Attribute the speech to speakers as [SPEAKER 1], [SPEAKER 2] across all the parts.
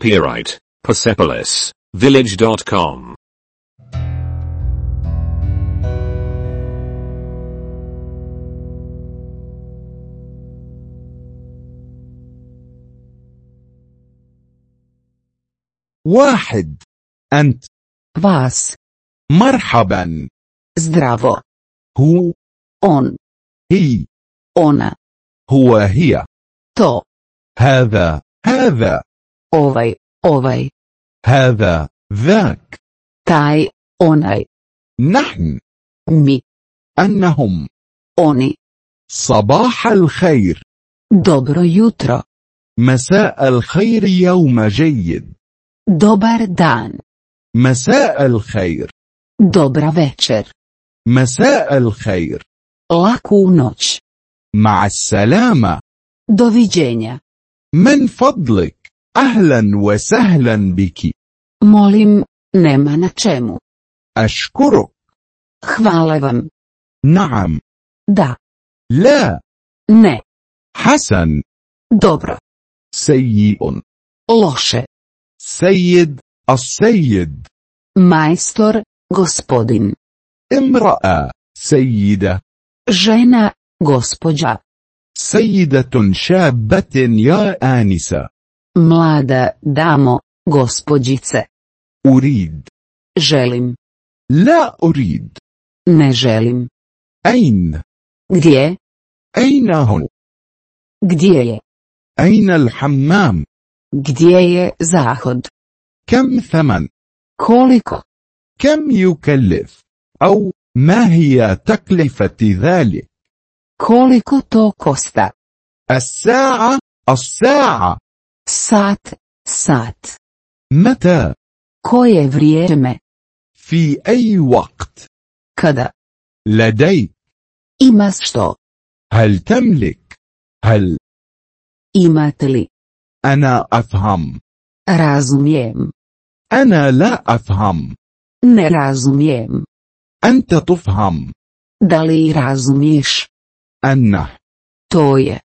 [SPEAKER 1] Copyright Persepolis Village.com.
[SPEAKER 2] واحد أنت
[SPEAKER 3] Vas.
[SPEAKER 2] مرحبا
[SPEAKER 3] Zdravo.
[SPEAKER 2] هو
[SPEAKER 3] On.
[SPEAKER 2] هي
[SPEAKER 3] Ona.
[SPEAKER 2] هو هي
[SPEAKER 3] To.
[SPEAKER 2] هذا هذا
[SPEAKER 3] Ovaj. Ovaj.
[SPEAKER 2] هذا ذاك
[SPEAKER 3] Taj. Onaj.
[SPEAKER 2] نحن
[SPEAKER 3] Mi.
[SPEAKER 2] أنهم
[SPEAKER 3] Oni.
[SPEAKER 2] صباح الخير
[SPEAKER 3] Dobro jutro.
[SPEAKER 2] مساء الخير يوم جيد
[SPEAKER 3] Dobar dan.
[SPEAKER 2] مساء الخير
[SPEAKER 3] Dobra večer.
[SPEAKER 2] مساء الخير
[SPEAKER 3] Laku noć.
[SPEAKER 2] مع السلامة
[SPEAKER 3] Doviđenja.
[SPEAKER 2] من فضلك أهلا وسهلا بك
[SPEAKER 3] Molim, nema na čemu.
[SPEAKER 2] أشكرك
[SPEAKER 3] Hvala vam.
[SPEAKER 2] نعم
[SPEAKER 3] Da.
[SPEAKER 2] لا
[SPEAKER 3] Ne.
[SPEAKER 2] حسن
[SPEAKER 3] Dobro.
[SPEAKER 2] سيء
[SPEAKER 3] Loše.
[SPEAKER 2] سيد السيد
[SPEAKER 3] Majstor. Gospodin.
[SPEAKER 2] امرأة سيدة
[SPEAKER 3] Žena. Gospođa.
[SPEAKER 2] سيدة شابة يا آنسة
[SPEAKER 3] Mlada damo. Gospođice.
[SPEAKER 2] أريد
[SPEAKER 3] Želim.
[SPEAKER 2] لا أريد
[SPEAKER 3] Ne želim.
[SPEAKER 2] أين
[SPEAKER 3] Gdje?
[SPEAKER 2] أين هو
[SPEAKER 3] Gdje je?
[SPEAKER 2] أين الحمام
[SPEAKER 3] Gdje je zahod?
[SPEAKER 2] كم ثمن
[SPEAKER 3] Koliko?
[SPEAKER 2] كم يكلف أو ما هي تكلفة ذلك
[SPEAKER 3] Koliko to kosta?
[SPEAKER 2] الساعة الساعة
[SPEAKER 3] Sat, sat.
[SPEAKER 2] متى
[SPEAKER 3] Koje vrijeme?
[SPEAKER 2] في أي وقت
[SPEAKER 3] Kada?
[SPEAKER 2] لديك
[SPEAKER 3] Imaš što?
[SPEAKER 2] هل تملك هل
[SPEAKER 3] Imate li?
[SPEAKER 2] أنا أفهم
[SPEAKER 3] Razumijem.
[SPEAKER 2] أنا لا أفهم
[SPEAKER 3] Ne razumijem.
[SPEAKER 2] أنت تفهم
[SPEAKER 3] Da li razumiješ?
[SPEAKER 2] أنه
[SPEAKER 3] To je.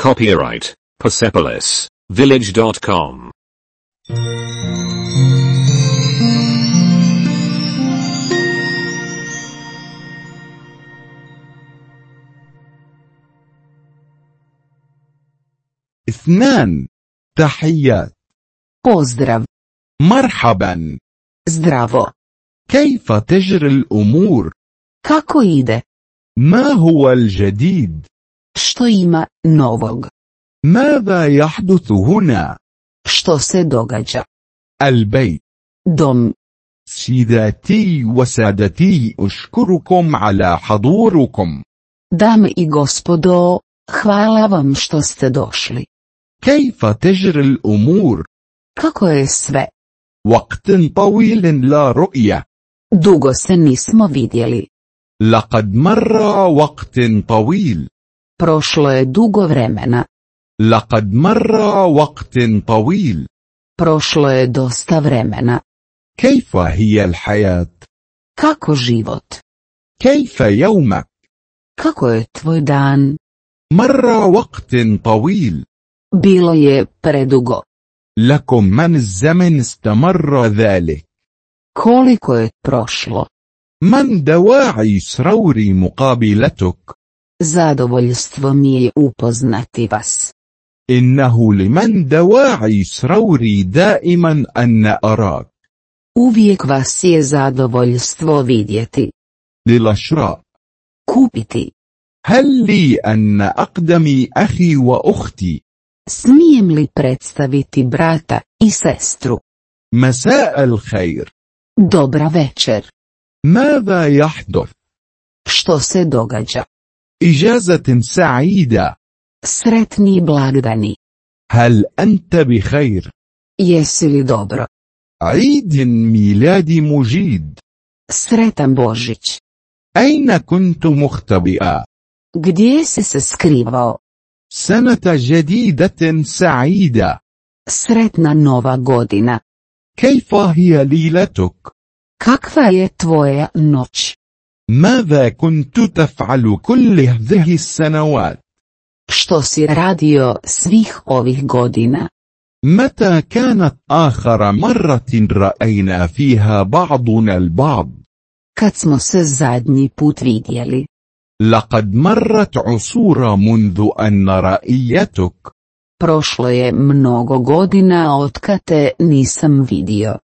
[SPEAKER 1] Copyright Persepolis Village.com.
[SPEAKER 2] اثنان تحيات
[SPEAKER 3] Pozdrav.
[SPEAKER 2] مرحبا
[SPEAKER 3] Zdravo.
[SPEAKER 2] كيف تجري الأمور
[SPEAKER 3] Kako ide?
[SPEAKER 2] ما هو الجديد
[SPEAKER 3] Što ima novog?
[SPEAKER 2] ماذا يحدث هنا
[SPEAKER 3] Što se događa?
[SPEAKER 2] البيت
[SPEAKER 3] Dom.
[SPEAKER 2] سيداتي وسادتي أشكركم على حضوركم
[SPEAKER 3] Dame i gospodo, hvala vam što ste došli.
[SPEAKER 2] كيف تجري الأمور
[SPEAKER 3] Kako je sve?
[SPEAKER 2] وقت طويل لا رؤية
[SPEAKER 3] Dugo se nismo vidjeli.
[SPEAKER 2] لقد مر وقت طويل
[SPEAKER 3] Prošlo je dugo vremena.
[SPEAKER 2] لقد مر وقت طويل
[SPEAKER 3] Prošlo je dosta vremena.
[SPEAKER 2] كيف هي الحياة
[SPEAKER 3] Kako život?
[SPEAKER 2] كيف يومك
[SPEAKER 3] Kako je tvoj dan?
[SPEAKER 2] مر وقت طويل
[SPEAKER 3] Bilo je predugo.
[SPEAKER 2] لكم من الزمن استمر ذلك
[SPEAKER 3] Koliko je prošlo?
[SPEAKER 2] من دواعي سروري مقابلتك
[SPEAKER 3] Zadovoljstvo mi je upoznati vas.
[SPEAKER 2] إنه لمن دواعي سروري دائما أن أراك
[SPEAKER 3] Uvijek vas je zadovoljstvo vidjeti.
[SPEAKER 2] للشراء
[SPEAKER 3] Kupiti.
[SPEAKER 2] هل لي أن أقدم أخي وأختي
[SPEAKER 3] Smijem li predstaviti brata i sestru?
[SPEAKER 2] مساء الخير
[SPEAKER 3] Dobra večer.
[SPEAKER 2] ماذا يحدث
[SPEAKER 3] Što se događa?
[SPEAKER 2] إجازة سعيدة
[SPEAKER 3] Sretni blagdani.
[SPEAKER 2] هل أنت بخير
[SPEAKER 3] Jesi li dobro?
[SPEAKER 2] عيد ميلاد مجيد
[SPEAKER 3] Sretan Božić.
[SPEAKER 2] أين كنت مختبئا
[SPEAKER 3] Gdje si se skrivao?
[SPEAKER 2] سنة جديدة سعيدة
[SPEAKER 3] Sretna nova godina.
[SPEAKER 2] كيف هي ليلتك
[SPEAKER 3] Kakva je tvoja noć?
[SPEAKER 2] ماذا كنت تفعل كل هذه السنوات
[SPEAKER 3] Što si radio svih ovih godina?
[SPEAKER 2] متى كانت آخر مرة رأينا فيها بعضنا البعض؟
[SPEAKER 3] Kad smo se zadnji put vidjeli,
[SPEAKER 2] لقد مرت عصور منذ أن رأيتك
[SPEAKER 3] prošlo je mnogo godina od kad te nisam vidio.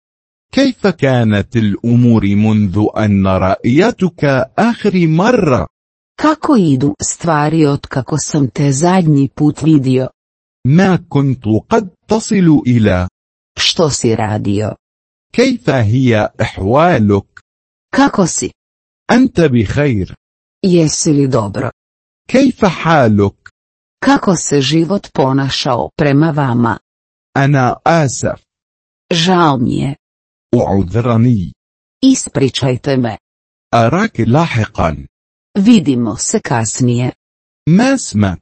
[SPEAKER 2] كيف كانت الأمور منذ أن رأيتك آخر مرة؟
[SPEAKER 3] Kako idu stvari od kako sam te zadnji put vidio?
[SPEAKER 2] ما كنت قد تصل إلى
[SPEAKER 3] Što si radio?
[SPEAKER 2] كيف هي أحوالك؟
[SPEAKER 3] Kako si?
[SPEAKER 2] أنت بخير
[SPEAKER 3] Jesi li dobro?
[SPEAKER 2] كيف حالك؟
[SPEAKER 3] Kako se život ponašao prema vama?
[SPEAKER 2] أنا آسف
[SPEAKER 3] Žao mi je.
[SPEAKER 2] أعذرني
[SPEAKER 3] Ispričajte me.
[SPEAKER 2] أراك لاحقا
[SPEAKER 3] Vidimo se kasnije.
[SPEAKER 2] ما اسمك؟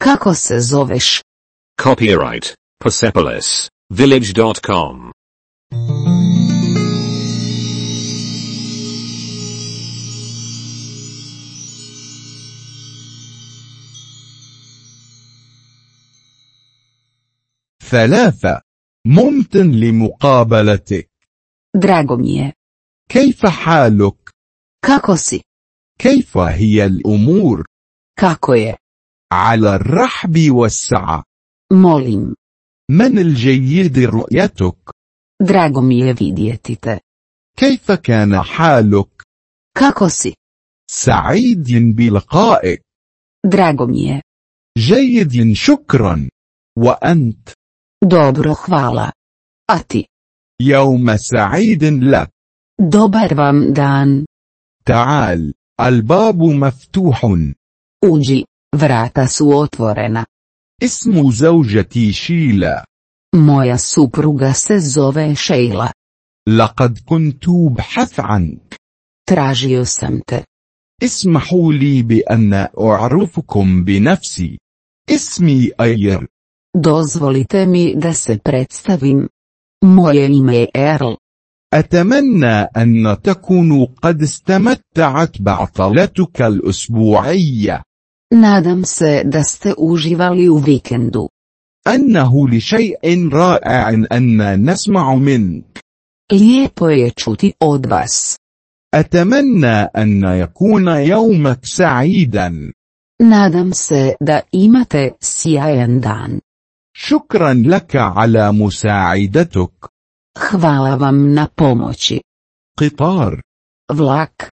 [SPEAKER 3] Kako se zoveš?
[SPEAKER 1] Copyright Persepolis Village.com.
[SPEAKER 2] ثلاثة ممتن لمقابلتك
[SPEAKER 3] Drago mi je.
[SPEAKER 2] كيف حالك؟
[SPEAKER 3] Kako si?
[SPEAKER 2] كيف هي الأمور؟
[SPEAKER 3] Kako je?
[SPEAKER 2] على الرحب والسعة
[SPEAKER 3] Molim.
[SPEAKER 2] من الجيد رؤيتك؟
[SPEAKER 3] Drago mi je vidjeti te.
[SPEAKER 2] كيف كان حالك؟
[SPEAKER 3] Kako si?
[SPEAKER 2] سعيد بلقائك
[SPEAKER 3] Drago mi je.
[SPEAKER 2] جيد شكرا وأنت
[SPEAKER 3] Dobro hvala. A ti?
[SPEAKER 2] يوم سعيد لك
[SPEAKER 3] Dobar vam dan.
[SPEAKER 2] تعال الباب مفتوح
[SPEAKER 3] Uđi. Vrata su otvorena.
[SPEAKER 2] اسم زوجتي شيلا
[SPEAKER 3] Moja supruga se zove Sheila.
[SPEAKER 2] لقد كنت أبحث عنك
[SPEAKER 3] Tražio sam te.
[SPEAKER 2] اسمحوا لي بأن أعرفكم بنفسي اسمي أير
[SPEAKER 3] Dozvolite mi da se predstavim. Moje ime je Earl.
[SPEAKER 2] أتمنى أن تكونوا قد استمتعت بعطلتك الأسبوعية
[SPEAKER 3] Nadam se da ste uživali u vikendu.
[SPEAKER 2] أنه لشيء رائع أن نسمع منك
[SPEAKER 3] Lijepo je čuti od vas.
[SPEAKER 2] أتمنى أن يكون يومك سعيدا
[SPEAKER 3] Nadam se da imate sjajan dan.
[SPEAKER 2] شكرا لك على مساعدتك
[SPEAKER 3] Hvala vam na pomoći.
[SPEAKER 2] قطار
[SPEAKER 3] Vlak,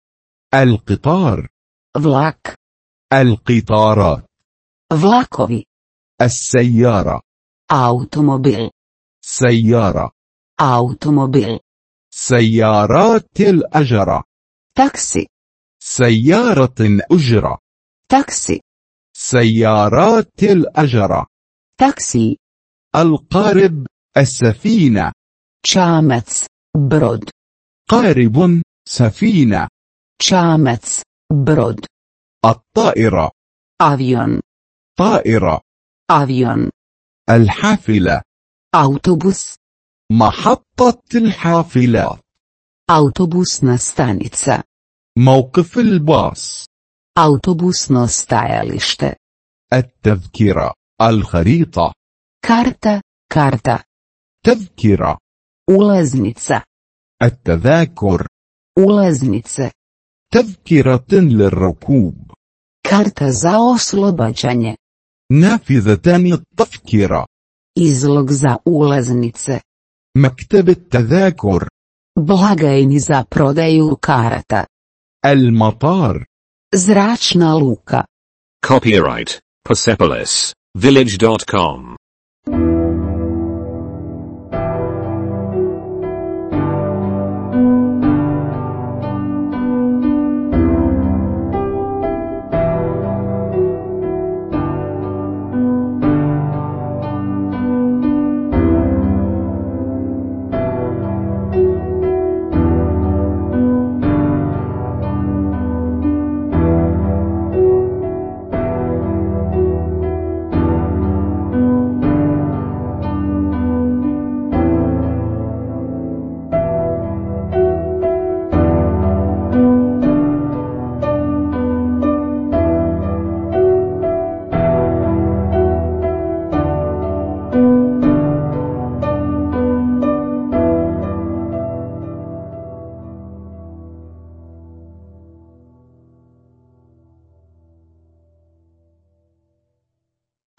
[SPEAKER 2] القطار
[SPEAKER 3] vlak,
[SPEAKER 2] القطارات
[SPEAKER 3] vlakovi,
[SPEAKER 2] السيارة
[SPEAKER 3] automobil,
[SPEAKER 2] سيارة
[SPEAKER 3] automobil,
[SPEAKER 2] سيارات الأجرة
[SPEAKER 3] taksi,
[SPEAKER 2] سيارة أجرة
[SPEAKER 3] taksi,
[SPEAKER 2] سيارات الأجرة
[SPEAKER 3] taksi,
[SPEAKER 2] القارب السفينة
[SPEAKER 3] čamac, brod,
[SPEAKER 2] قارب سفينة
[SPEAKER 3] čamac, brod,
[SPEAKER 2] الطائرة
[SPEAKER 3] avion,
[SPEAKER 2] طائرة
[SPEAKER 3] avion,
[SPEAKER 2] الحافلة
[SPEAKER 3] autobus,
[SPEAKER 2] محطة الحافلات
[SPEAKER 3] autobusna stanica,
[SPEAKER 2] موقف الباص
[SPEAKER 3] autobusno stajalište,
[SPEAKER 2] التذكرة الخريطة
[SPEAKER 3] karta, karta,
[SPEAKER 2] تذكرة
[SPEAKER 3] ulaznica,
[SPEAKER 2] التذاكر
[SPEAKER 3] ulaznice,
[SPEAKER 2] تذكرة للركوب
[SPEAKER 3] karta za oslobađanje,
[SPEAKER 2] نافذة التذكرة
[SPEAKER 3] izlog za ulaznice,
[SPEAKER 2] مكتب التذاكر
[SPEAKER 3] blagajni za prodaju karata,
[SPEAKER 2] المطار
[SPEAKER 3] zračna luka.
[SPEAKER 1] Copyright Persepolis Village.com.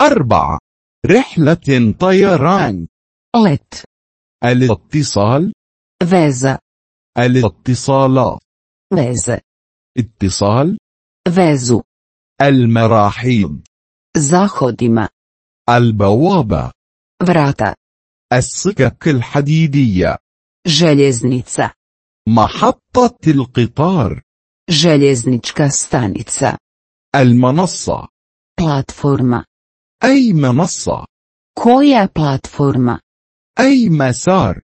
[SPEAKER 2] أربعة رحلة طيران
[SPEAKER 3] let,
[SPEAKER 2] الاتصال
[SPEAKER 3] veza,
[SPEAKER 2] الاتصالات
[SPEAKER 3] veze,
[SPEAKER 2] اتصال
[SPEAKER 3] vezu,
[SPEAKER 2] المراحيض
[SPEAKER 3] zahodima,
[SPEAKER 2] البوابة
[SPEAKER 3] vrata,
[SPEAKER 2] السكك الحديدية
[SPEAKER 3] željeznica,
[SPEAKER 2] محطة القطار
[SPEAKER 3] željeznička stanica,
[SPEAKER 2] المنصة
[SPEAKER 3] platforma,
[SPEAKER 2] أي منصة
[SPEAKER 3] koja platforma,
[SPEAKER 2] أي مسار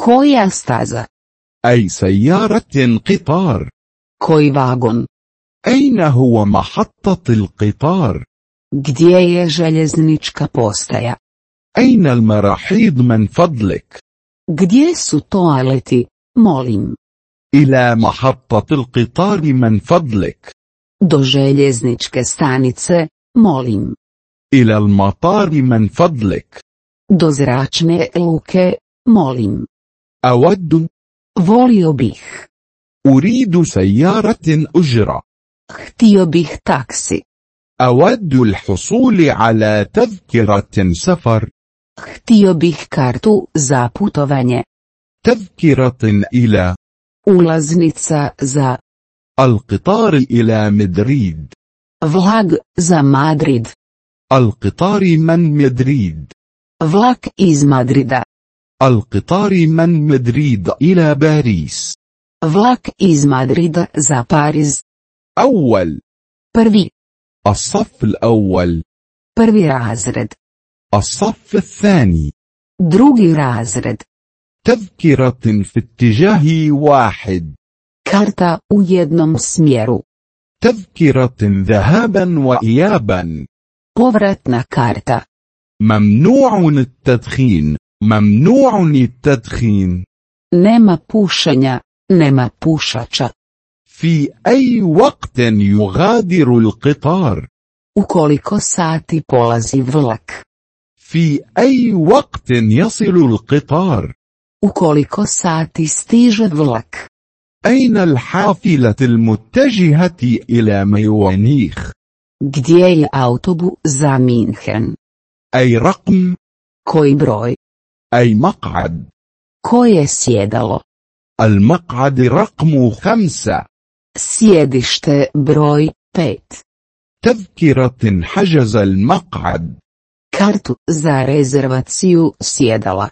[SPEAKER 3] koja staza,
[SPEAKER 2] أي سيارة قطار
[SPEAKER 3] koji vagon,
[SPEAKER 2] أين هو محطة القطار
[SPEAKER 3] gdje je željeznička postaja,
[SPEAKER 2] أين المراحيض من فضلك
[SPEAKER 3] gdje su toaleti, molim,
[SPEAKER 2] إلى محطة القطار من فضلك
[SPEAKER 3] do željezničke stanice, molim,
[SPEAKER 2] إلى المطار من فضلك
[SPEAKER 3] do zračne luke, molim,
[SPEAKER 2] أود
[SPEAKER 3] volio bih,
[SPEAKER 2] أريد سيارة أجرة
[SPEAKER 3] htio bih taksi,
[SPEAKER 2] أود الحصول على تذكرة سفر
[SPEAKER 3] htio bih kartu za putovanje,
[SPEAKER 2] تذكرة إلى
[SPEAKER 3] ulaznica za
[SPEAKER 2] القطار إلى مدريد
[SPEAKER 3] Vlak za Madrid.
[SPEAKER 2] القطار من مدريد
[SPEAKER 3] Vlak iz Madrida.
[SPEAKER 2] القطار من مدريد إلى باريس
[SPEAKER 3] Vlak iz Madrida za Pariz.
[SPEAKER 2] أول
[SPEAKER 3] Prvi.
[SPEAKER 2] الصف الأول
[SPEAKER 3] Prvi razred.
[SPEAKER 2] الصف الثاني
[SPEAKER 3] Drugi razred.
[SPEAKER 2] تذكرة في اتجاه واحد
[SPEAKER 3] Karta u jednom smjeru.
[SPEAKER 2] تذكرة ذهابا وإيابا
[SPEAKER 3] Povratna karta.
[SPEAKER 2] ممنوع التدخين ممنوع التدخين
[SPEAKER 3] Nema pušenja, nema pušača.
[SPEAKER 2] في أي وقت يغادر القطار
[SPEAKER 3] U koliko sati polazi vlak?
[SPEAKER 2] في أي وقت يصل القطار
[SPEAKER 3] U koliko sati stiže vlak?
[SPEAKER 2] أين الحافلة المتجهة إلى ميوانيخ
[SPEAKER 3] Gdje je autobus za Minhen?
[SPEAKER 2] أي رقم
[SPEAKER 3] Koji broj?
[SPEAKER 2] أي مقعد
[SPEAKER 3] Koje sjedalo?
[SPEAKER 2] المقعد رقم خمسة
[SPEAKER 3] Sjedište broj 5.
[SPEAKER 2] تذكرة حجز المقعد
[SPEAKER 3] kartu za rezervaciju sjedala,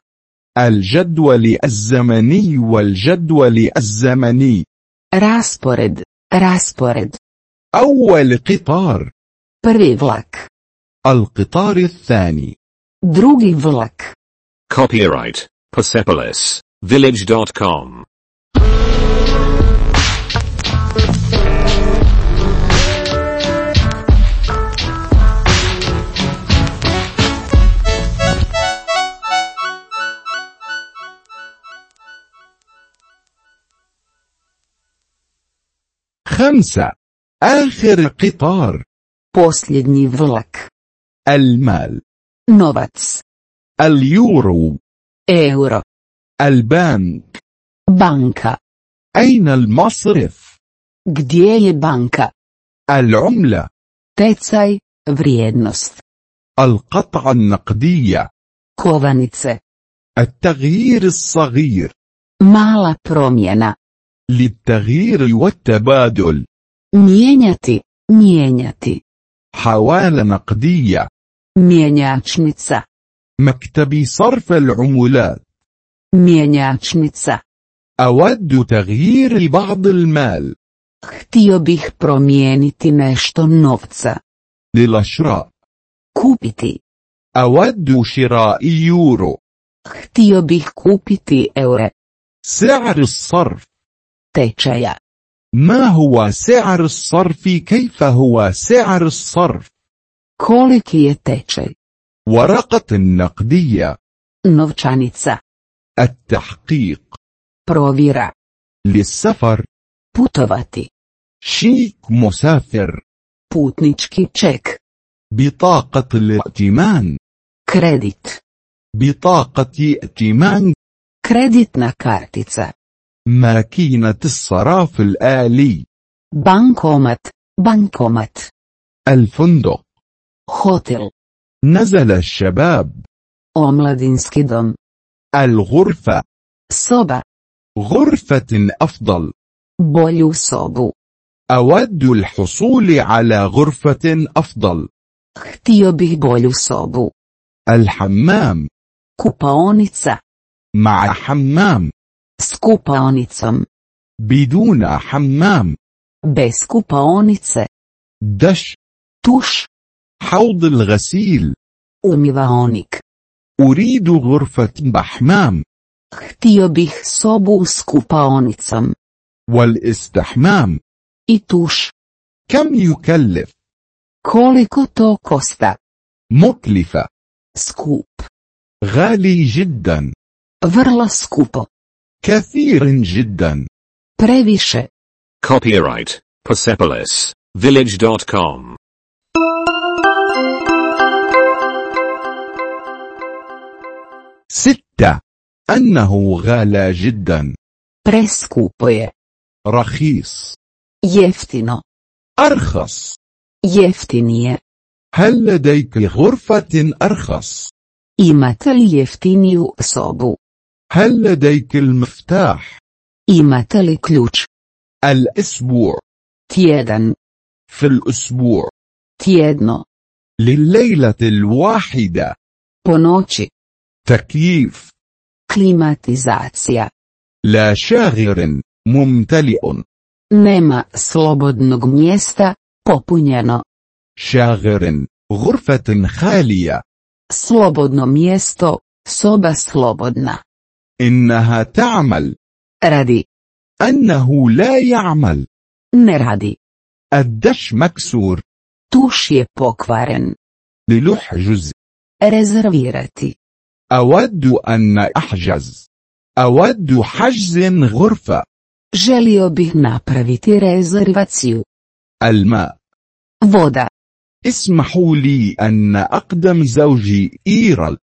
[SPEAKER 2] الجدول الزمني والجدول الزمني
[SPEAKER 3] raspored, raspored,
[SPEAKER 2] أول قطار
[SPEAKER 3] prvi vlak,
[SPEAKER 2] القطار الثاني
[SPEAKER 3] drugi vlak.
[SPEAKER 1] Copyright Persepolis Village.com.
[SPEAKER 2] خمسة آخر قطار
[SPEAKER 3] Posljednji vlak,
[SPEAKER 2] المال
[SPEAKER 3] novac,
[SPEAKER 2] اليورو
[SPEAKER 3] euro,
[SPEAKER 2] البنك
[SPEAKER 3] banka.
[SPEAKER 2] أين المصرف
[SPEAKER 3] Gdje je banka?
[SPEAKER 2] العملة
[SPEAKER 3] Tecaj, vrijednost,
[SPEAKER 2] القطعة النقدية
[SPEAKER 3] kovanice,
[SPEAKER 2] التغيير الصغير
[SPEAKER 3] mala promjena,
[SPEAKER 2] للتغيير والتبادل
[SPEAKER 3] mijenjati, mijenjati,
[SPEAKER 2] حوالة نقدية
[SPEAKER 3] mjenjačnica,
[SPEAKER 2] مكتب صرف العملات
[SPEAKER 3] mjenjačnica.
[SPEAKER 2] أود تغيير بعض المال
[SPEAKER 3] Htio bih promijeniti nešto novca,
[SPEAKER 2] للشراء
[SPEAKER 3] kupiti.
[SPEAKER 2] أود شراء يورو
[SPEAKER 3] Htio bih kupiti eure,
[SPEAKER 2] سعر الصرف
[SPEAKER 3] tečaja.
[SPEAKER 2] ما هو سعر الصرف كيف هو سعر الصرف
[SPEAKER 3] Koliki je tečaj?
[SPEAKER 2] ورقة نقدية
[SPEAKER 3] Novčanica.
[SPEAKER 2] التحقيق
[SPEAKER 3] Provjera.
[SPEAKER 2] للسفر
[SPEAKER 3] Putovati.
[SPEAKER 2] شيك مسافر
[SPEAKER 3] Putnički ček.
[SPEAKER 2] بطاقة الائتمان
[SPEAKER 3] Kredit.
[SPEAKER 2] بطاقة ائتمان
[SPEAKER 3] Kreditna kartica.
[SPEAKER 2] ماكينة الصراف الآلي
[SPEAKER 3] Bankomat. Bankomat.
[SPEAKER 2] الفندق
[SPEAKER 3] Hotel.
[SPEAKER 2] نزل الشباب
[SPEAKER 3] Omladinski dom.
[SPEAKER 2] الغرفة
[SPEAKER 3] Soba.
[SPEAKER 2] غرفة أفضل
[SPEAKER 3] Bolju sobu.
[SPEAKER 2] أود الحصول على غرفة أفضل
[SPEAKER 3] Htio bih bolju sobu.
[SPEAKER 2] الحمام
[SPEAKER 3] Kupaonica.
[SPEAKER 2] مع حمام
[SPEAKER 3] S kupaonicom.
[SPEAKER 2] بدون حمام
[SPEAKER 3] Bez kupaonice.
[SPEAKER 2] دش
[SPEAKER 3] Tuš.
[SPEAKER 2] حوض الغسيل
[SPEAKER 3] Umivaonik.
[SPEAKER 2] أريد غرفة بحمام
[SPEAKER 3] Htio bih sobu s kupaonicom.
[SPEAKER 2] والاستحمام
[SPEAKER 3] I tuš.
[SPEAKER 2] كم يكلف
[SPEAKER 3] Koliko to kosta?
[SPEAKER 2] مكلفة
[SPEAKER 3] Skup.
[SPEAKER 2] غالي جدا
[SPEAKER 3] Vrlo skupo.
[SPEAKER 2] كثير جدا
[SPEAKER 3] Previše.
[SPEAKER 1] Copyright Persepolis Village.com.
[SPEAKER 2] ستة أنه غالى جدا
[SPEAKER 3] Preskupo je.
[SPEAKER 2] رخيص
[SPEAKER 3] Jeftino.
[SPEAKER 2] أرخص
[SPEAKER 3] Jeftinije.
[SPEAKER 2] هل لديك غرفة أرخص؟
[SPEAKER 3] Imate li jeftiniju sobu?
[SPEAKER 2] هل لديك المفتاح؟
[SPEAKER 3] Imate li ključ?
[SPEAKER 2] الأسبوع
[SPEAKER 3] Tjedan.
[SPEAKER 2] في الأسبوع
[SPEAKER 3] Tjedno.
[SPEAKER 2] لليلة الواحدة
[SPEAKER 3] Po noći.
[SPEAKER 2] تكييف
[SPEAKER 3] Klimatizacija.
[SPEAKER 2] لا شاغر ممتلئ
[SPEAKER 3] Nema slobodnog mjesta, popunjeno.
[SPEAKER 2] شاغر غرفة خالية
[SPEAKER 3] Slobodno mjesto, soba slobodna.
[SPEAKER 2] إنها تعمل
[SPEAKER 3] Radi.
[SPEAKER 2] أنه لا يعمل
[SPEAKER 3] Ne radi.
[SPEAKER 2] الدش مكسور
[SPEAKER 3] Tuš je pokvaren.
[SPEAKER 2] للحجز
[SPEAKER 3] Rezervirati.
[SPEAKER 2] أود أن أحجز أود حجز غرفة
[SPEAKER 3] Želio bih napraviti rezervaciju.
[SPEAKER 2] الماء
[SPEAKER 3] Voda.
[SPEAKER 2] اسمحوا لي أن أقدم زوجي إيرل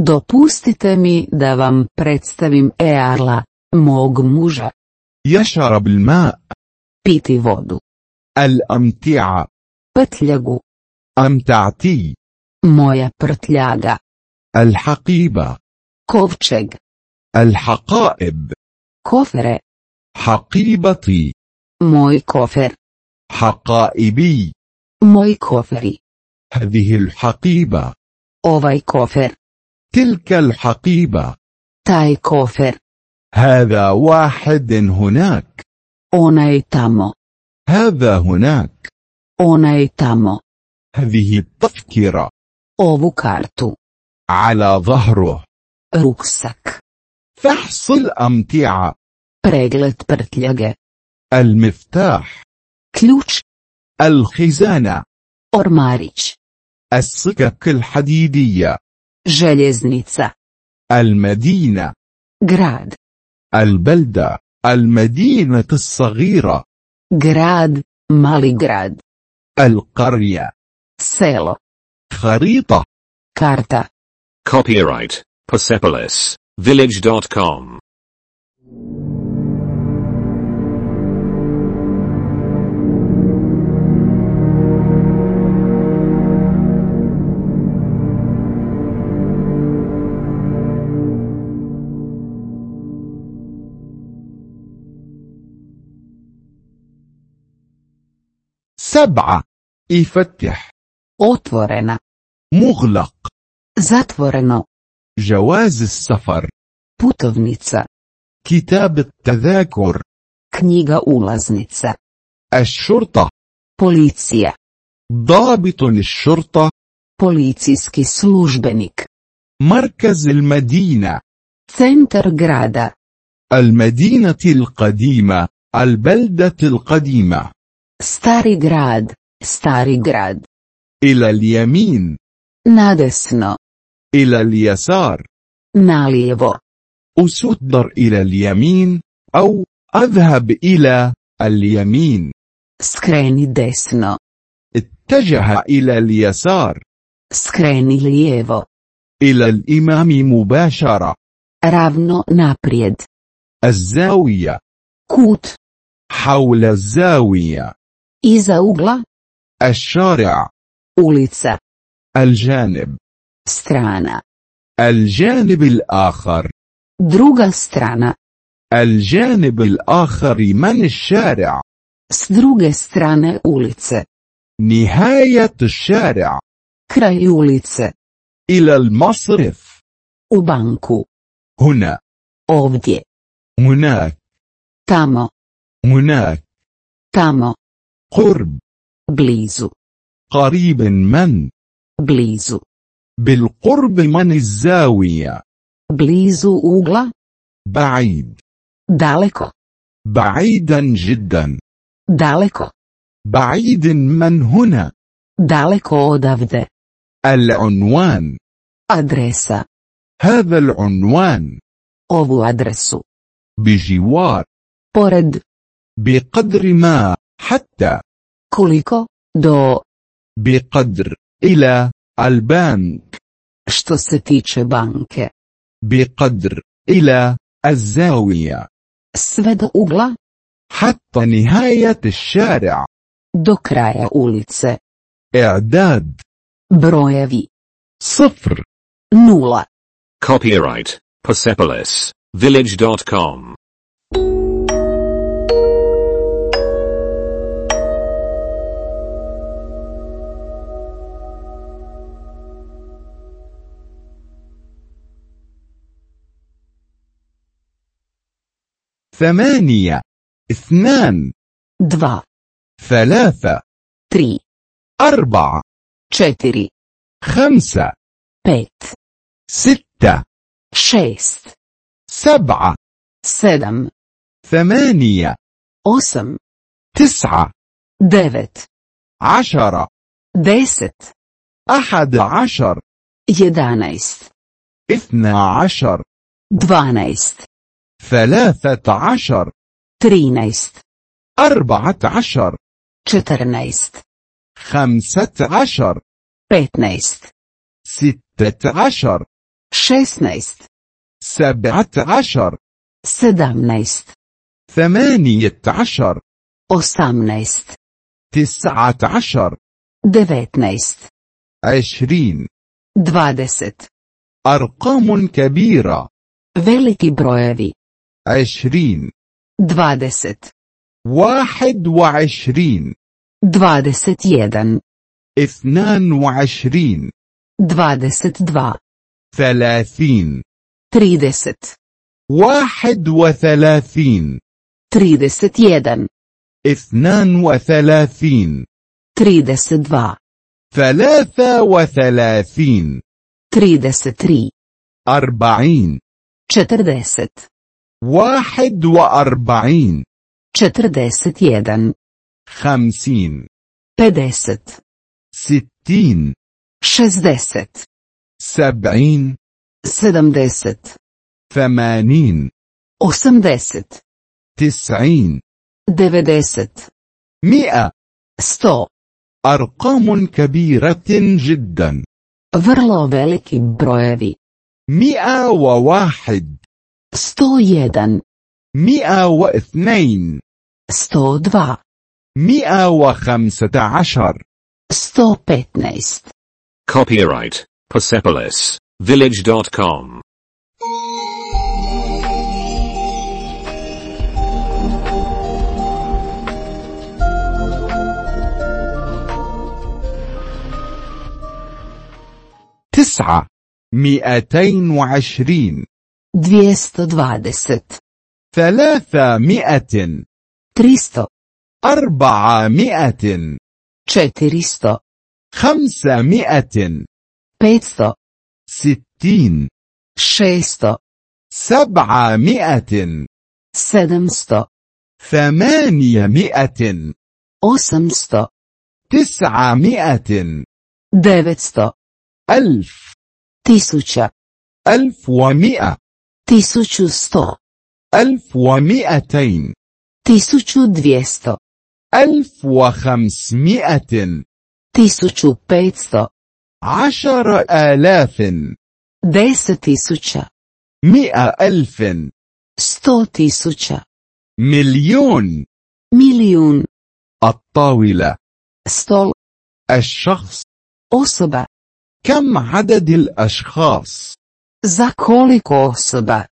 [SPEAKER 3] Dopustite mi da vam predstavim Earla, mog muža,
[SPEAKER 2] يشرب الماء
[SPEAKER 3] piti vodu,
[SPEAKER 2] الأمتعة
[SPEAKER 3] prtljagu,
[SPEAKER 2] أمتعتي
[SPEAKER 3] moja prtljaga,
[SPEAKER 2] الحقيبة
[SPEAKER 3] kovčeg,
[SPEAKER 2] الحقائب
[SPEAKER 3] kofere,
[SPEAKER 2] حقيبتي
[SPEAKER 3] moj kofer,
[SPEAKER 2] حقائبي
[SPEAKER 3] moji koferi,
[SPEAKER 2] هذه الحقيبة
[SPEAKER 3] ovaj kofer,
[SPEAKER 2] تلك الحقيبة
[SPEAKER 3] taj kofer,
[SPEAKER 2] هذا واحد هناك
[SPEAKER 3] onaj tamo,
[SPEAKER 2] هذا هناك
[SPEAKER 3] onaj tamo,
[SPEAKER 2] هذه التذكرة
[SPEAKER 3] ovu kartu,
[SPEAKER 2] على ظهره
[SPEAKER 3] ruksak,
[SPEAKER 2] فحص الأمتعة
[SPEAKER 3] pregled prtljage,
[SPEAKER 2] المفتاح
[SPEAKER 3] ključ,
[SPEAKER 2] الخزانة
[SPEAKER 3] ormarić,
[SPEAKER 2] السكك الحديدية
[SPEAKER 3] željeznica,
[SPEAKER 2] المدينة
[SPEAKER 3] grad,
[SPEAKER 2] البلدة المدينة الصغيرة
[SPEAKER 3] grad, mali grad,
[SPEAKER 2] القرية
[SPEAKER 3] selo.
[SPEAKER 2] خريطة
[SPEAKER 3] Karta.
[SPEAKER 1] Copyright Persepolis Village.com.
[SPEAKER 2] سبعة يفتح
[SPEAKER 3] Otvorena.
[SPEAKER 2] مغلق
[SPEAKER 3] Zatvoreno.
[SPEAKER 2] جواز السفر
[SPEAKER 3] Putovnica.
[SPEAKER 2] كتاب التذاكر
[SPEAKER 3] Knjiga ulaznica.
[SPEAKER 2] الشرطة
[SPEAKER 3] Policija.
[SPEAKER 2] ضابط الشرطة
[SPEAKER 3] Policijski službenik.
[SPEAKER 2] مركز المدينة
[SPEAKER 3] Centar grada.
[SPEAKER 2] المدينة القديمة البلدة القديمة
[SPEAKER 3] Stari grad. Stari grad.
[SPEAKER 2] إلى اليمين
[SPEAKER 3] Nadesno.
[SPEAKER 2] إلى اليسار
[SPEAKER 3] Nalijevo.
[SPEAKER 2] أسدر إلى اليمين أو أذهب إلى اليمين
[SPEAKER 3] Skreni desno.
[SPEAKER 2] اتجه إلى اليسار
[SPEAKER 3] Skreni lijevo.
[SPEAKER 2] إلى الإمام مباشرة
[SPEAKER 3] Ravno naprijed.
[SPEAKER 2] الزاوية
[SPEAKER 3] Kut.
[SPEAKER 2] حول الزاوية
[SPEAKER 3] Iza ugla.
[SPEAKER 2] الشارع
[SPEAKER 3] Ulica.
[SPEAKER 2] الجانب
[SPEAKER 3] strana,
[SPEAKER 2] الجانب الآخر
[SPEAKER 3] druga strana,
[SPEAKER 2] الجانب الآخر من الشارع
[SPEAKER 3] s druge strane ulice,
[SPEAKER 2] نهاية الشارع
[SPEAKER 3] kraj ulice,
[SPEAKER 2] إلى المصرف
[SPEAKER 3] u banku,
[SPEAKER 2] هنا
[SPEAKER 3] ovdje,
[SPEAKER 2] هناك
[SPEAKER 3] tamo,
[SPEAKER 2] هناك
[SPEAKER 3] tamo,
[SPEAKER 2] قرب
[SPEAKER 3] blizu,
[SPEAKER 2] قريب من
[SPEAKER 3] blizu,
[SPEAKER 2] بالقرب من الزاوية
[SPEAKER 3] blizu ugla,
[SPEAKER 2] بعيد
[SPEAKER 3] daleko,
[SPEAKER 2] بعيدا جدا
[SPEAKER 3] daleko,
[SPEAKER 2] بعيد من هنا
[SPEAKER 3] daleko odavde,
[SPEAKER 2] العنوان
[SPEAKER 3] adresa,
[SPEAKER 2] هذا العنوان
[SPEAKER 3] ovu adresu,
[SPEAKER 2] بجوار
[SPEAKER 3] pored,
[SPEAKER 2] بقدر ما حتى
[SPEAKER 3] koliko, do,
[SPEAKER 2] بقدر إلى البنك
[SPEAKER 3] što se tiče banke,
[SPEAKER 2] بقدر إلى الزاوية
[SPEAKER 3] sve do ugla,
[SPEAKER 2] حتى نهاية الشارع
[SPEAKER 3] do kraja ulice,
[SPEAKER 2] إعداد
[SPEAKER 3] brojevi,
[SPEAKER 2] صفر
[SPEAKER 3] nula.
[SPEAKER 1] Copyright Persepolis Village.com.
[SPEAKER 2] ثمانية اثنان
[SPEAKER 3] dva,
[SPEAKER 2] ثلاثة
[SPEAKER 3] tri,
[SPEAKER 2] أربعة
[SPEAKER 3] četiri,
[SPEAKER 2] خمسة
[SPEAKER 3] pet,
[SPEAKER 2] ستة
[SPEAKER 3] šest,
[SPEAKER 2] سبعة
[SPEAKER 3] sedam,
[SPEAKER 2] ثمانية
[SPEAKER 3] osam,
[SPEAKER 2] تسعة
[SPEAKER 3] devet,
[SPEAKER 2] عشرة
[SPEAKER 3] deset,
[SPEAKER 2] أحد عشر
[SPEAKER 3] jedanaest,
[SPEAKER 2] اثنا عشر
[SPEAKER 3] dvanaest,
[SPEAKER 2] ثلاثة عشر
[SPEAKER 3] trinaest,
[SPEAKER 2] أربعة عشر
[SPEAKER 3] četrnaest,
[SPEAKER 2] خمسة عشر
[SPEAKER 3] petnaest,
[SPEAKER 2] ستة عشر
[SPEAKER 3] šesnaest,
[SPEAKER 2] سبعة عشر
[SPEAKER 3] sedamnaest,
[SPEAKER 2] ثمانية عشر
[SPEAKER 3] osamnaest,
[SPEAKER 2] تسعة عشر
[SPEAKER 3] devetnaest,
[SPEAKER 2] عشرين
[SPEAKER 3] dvadeset,
[SPEAKER 2] أرقام كبيرة
[SPEAKER 3] veliki brojevi,
[SPEAKER 2] عشرين
[SPEAKER 3] dvadeset,
[SPEAKER 2] واحد وعشرين
[SPEAKER 3] dvadeset jedan,
[SPEAKER 2] اثنان وعشرين
[SPEAKER 3] dvadeset dva,
[SPEAKER 2] ثلاثين
[SPEAKER 3] trideset,
[SPEAKER 2] واحد وثلاثين
[SPEAKER 3] trideset jedan,
[SPEAKER 2] اثنان وثلاثين
[SPEAKER 3] trideset dva,
[SPEAKER 2] ثلاثة وثلاثين
[SPEAKER 3] 33,
[SPEAKER 2] أربعين
[SPEAKER 3] 40,
[SPEAKER 2] واحد وأربعين
[SPEAKER 3] 41,
[SPEAKER 2] خمسين
[SPEAKER 3] 50,
[SPEAKER 2] ستين
[SPEAKER 3] 60,
[SPEAKER 2] سبعين
[SPEAKER 3] 70,
[SPEAKER 2] ثمانين
[SPEAKER 3] 80,
[SPEAKER 2] تسعين
[SPEAKER 3] 90,
[SPEAKER 2] مئة
[SPEAKER 3] 100.
[SPEAKER 2] أرقام كبيرة جدا
[SPEAKER 3] Vrlo veliki brojevi.
[SPEAKER 2] مئة وواحد
[SPEAKER 3] 101,
[SPEAKER 2] مئة واثنين
[SPEAKER 3] 102,
[SPEAKER 2] مئة وخمسة عشر
[SPEAKER 3] 115.
[SPEAKER 1] Copyright Persepolis Village.com.
[SPEAKER 2] تسعة مئتين وعشرين
[SPEAKER 3] 220,
[SPEAKER 2] ثلاثمائة
[SPEAKER 3] 300,
[SPEAKER 2] أربعمائة
[SPEAKER 3] 400,
[SPEAKER 2] خمسمائة
[SPEAKER 3] 500,
[SPEAKER 2] ستين
[SPEAKER 3] 600,
[SPEAKER 2] سبعمائة
[SPEAKER 3] 700,
[SPEAKER 2] ثمانمائة
[SPEAKER 3] 800,
[SPEAKER 2] تسعمائة
[SPEAKER 3] 900,
[SPEAKER 2] ألف
[SPEAKER 3] 1000,
[SPEAKER 2] ألف ومئة
[SPEAKER 3] 1100,
[SPEAKER 2] ألف ومئتين
[SPEAKER 3] 1200,
[SPEAKER 2] ألف وخمسمائة
[SPEAKER 3] 1500,
[SPEAKER 2] عشر آلاف
[SPEAKER 3] 10 tisuća,
[SPEAKER 2] مئة ألف
[SPEAKER 3] 100 tisuća,
[SPEAKER 2] مليون
[SPEAKER 3] milijun,
[SPEAKER 2] الطاولة
[SPEAKER 3] stol,
[SPEAKER 2] الشخص
[SPEAKER 3] osoba,
[SPEAKER 2] كم عدد الأشخاص؟
[SPEAKER 3] Za koliko osoba?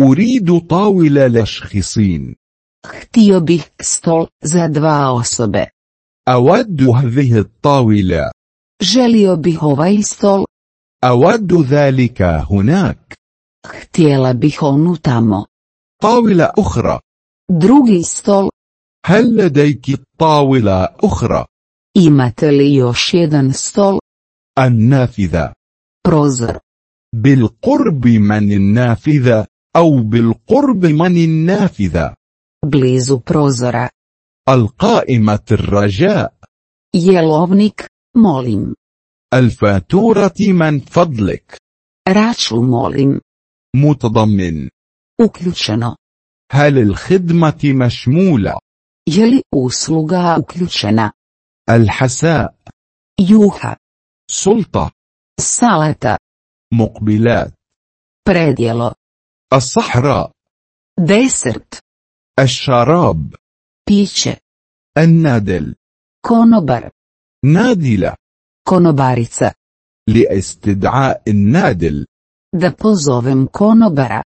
[SPEAKER 2] أريد طاولة لشخصين.
[SPEAKER 3] Htio bih stol za dva osobe.
[SPEAKER 2] أود هذه الطاولة.
[SPEAKER 3] Želio bih ovaj stol,
[SPEAKER 2] أود ذلك هناك.
[SPEAKER 3] htjela bih onu tamo.
[SPEAKER 2] طاولة أخرى.
[SPEAKER 3] Drugi stol,
[SPEAKER 2] هل لديك طاولة أخرى؟
[SPEAKER 3] imate li još jedan stol?
[SPEAKER 2] النافذة.
[SPEAKER 3] Prozor.
[SPEAKER 2] بالقرب من النافذة أو بالقرب من النافذة.
[SPEAKER 3] Blizu prozora.
[SPEAKER 2] القائمة الرجاء.
[SPEAKER 3] Jelovnik, molim.
[SPEAKER 2] الفاتورة من فضلك.
[SPEAKER 3] Račun molim.
[SPEAKER 2] متضمن.
[SPEAKER 3] Uključeno.
[SPEAKER 2] هل الخدمة مشمولة؟
[SPEAKER 3] Je li usluga uključena?
[SPEAKER 2] الحساء.
[SPEAKER 3] Juha.
[SPEAKER 2] سلطة.
[SPEAKER 3] Salata.
[SPEAKER 2] مقبلات.
[SPEAKER 3] Predjelo.
[SPEAKER 2] الصحراء.
[SPEAKER 3] Desert.
[SPEAKER 2] الشراب.
[SPEAKER 3] Piće.
[SPEAKER 2] النادل.
[SPEAKER 3] Konobar.
[SPEAKER 2] نادلة.
[SPEAKER 3] Konobarica.
[SPEAKER 2] لاستدعاء النادل.
[SPEAKER 3] Da pozovem konobara.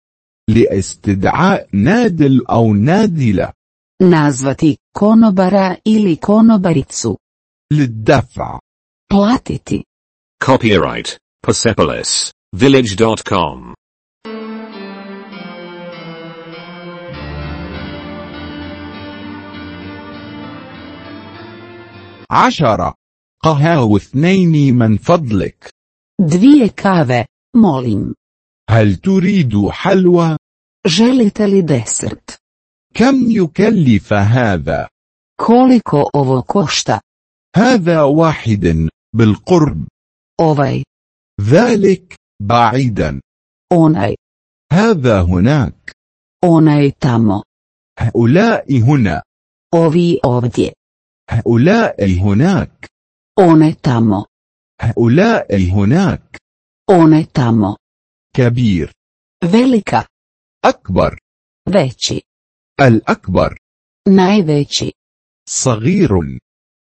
[SPEAKER 2] لاستدعاء نادل أو نادلة.
[SPEAKER 3] Nazvati konobara ili konobaricu.
[SPEAKER 2] للدفع.
[SPEAKER 3] Platiti.
[SPEAKER 1] Copyright Persepolis Village.com.
[SPEAKER 2] عشرة قهوة اثنين من فضلك
[SPEAKER 3] Dvije kave, molim.
[SPEAKER 2] هل تريد حلوى؟
[SPEAKER 3] Želite li desert?
[SPEAKER 2] كم يكلف هذا؟
[SPEAKER 3] Koliko ovo košta?
[SPEAKER 2] هذا واحد بالقرب
[SPEAKER 3] Ovaj,
[SPEAKER 2] ذلك بعيدا
[SPEAKER 3] onaj,
[SPEAKER 2] هذا هناك
[SPEAKER 3] onaj tamo,
[SPEAKER 2] هؤلاء هنا
[SPEAKER 3] ovi ovdje,
[SPEAKER 2] هؤلاء هناك
[SPEAKER 3] one tamo,
[SPEAKER 2] هؤلاء هناك
[SPEAKER 3] one tamo.
[SPEAKER 2] كبير
[SPEAKER 3] Velika,
[SPEAKER 2] أكبر
[SPEAKER 3] veći,
[SPEAKER 2] الأكبر
[SPEAKER 3] najveći,
[SPEAKER 2] صغير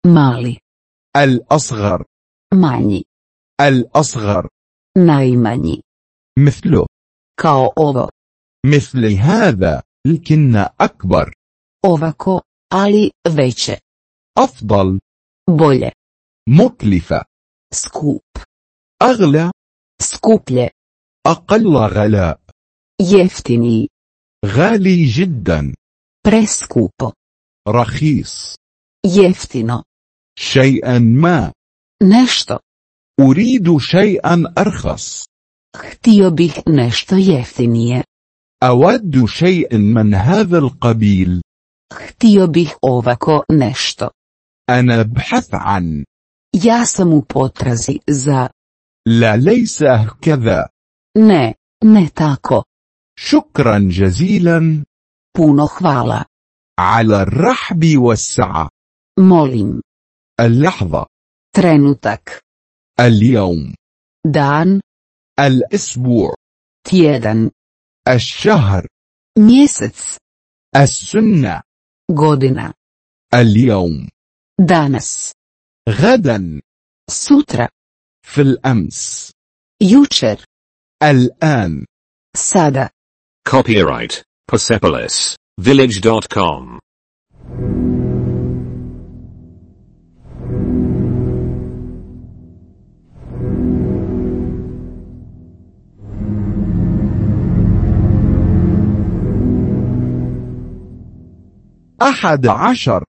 [SPEAKER 3] mali,
[SPEAKER 2] الأصغر
[SPEAKER 3] manji,
[SPEAKER 2] الأصغر
[SPEAKER 3] najmanji,
[SPEAKER 2] مثله
[SPEAKER 3] kao ovo,
[SPEAKER 2] مثل هذا لكن أكبر
[SPEAKER 3] ovako, ali veće,
[SPEAKER 2] أفضل
[SPEAKER 3] bolje,
[SPEAKER 2] مكلفة
[SPEAKER 3] skup,
[SPEAKER 2] أغلى
[SPEAKER 3] skuplje,
[SPEAKER 2] أقل غلاء
[SPEAKER 3] jeftiniji,
[SPEAKER 2] غالي جدا
[SPEAKER 3] preskupo,
[SPEAKER 2] رخيص
[SPEAKER 3] jeftino,
[SPEAKER 2] شيئا ما
[SPEAKER 3] nešto,
[SPEAKER 2] أريد شيئا أرخص
[SPEAKER 3] htio bih nešto jeftinije,
[SPEAKER 2] أود شيئا من هذا القبيل
[SPEAKER 3] htio bih ovako nešto.
[SPEAKER 2] أنا أبحث عن
[SPEAKER 3] Ja sam u potrazi za,
[SPEAKER 2] لا ليس هكذا
[SPEAKER 3] ne, ne tako,
[SPEAKER 2] شكرا جزيلا
[SPEAKER 3] puno hvala,
[SPEAKER 2] على الرحب والسعة
[SPEAKER 3] molim,
[SPEAKER 2] اللحظة
[SPEAKER 3] trenutak,
[SPEAKER 2] اليوم
[SPEAKER 3] dan,
[SPEAKER 2] الأسبوع
[SPEAKER 3] tjedan,
[SPEAKER 2] الشهر
[SPEAKER 3] mjesec,
[SPEAKER 2] السنة
[SPEAKER 3] godina,
[SPEAKER 2] اليوم
[SPEAKER 3] danas,
[SPEAKER 2] غدا
[SPEAKER 3] sutra,
[SPEAKER 2] في الأمس
[SPEAKER 3] jučer,
[SPEAKER 2] الآن
[SPEAKER 3] sada.
[SPEAKER 1] Copyright Persepolis Village.com.
[SPEAKER 2] أحد عشر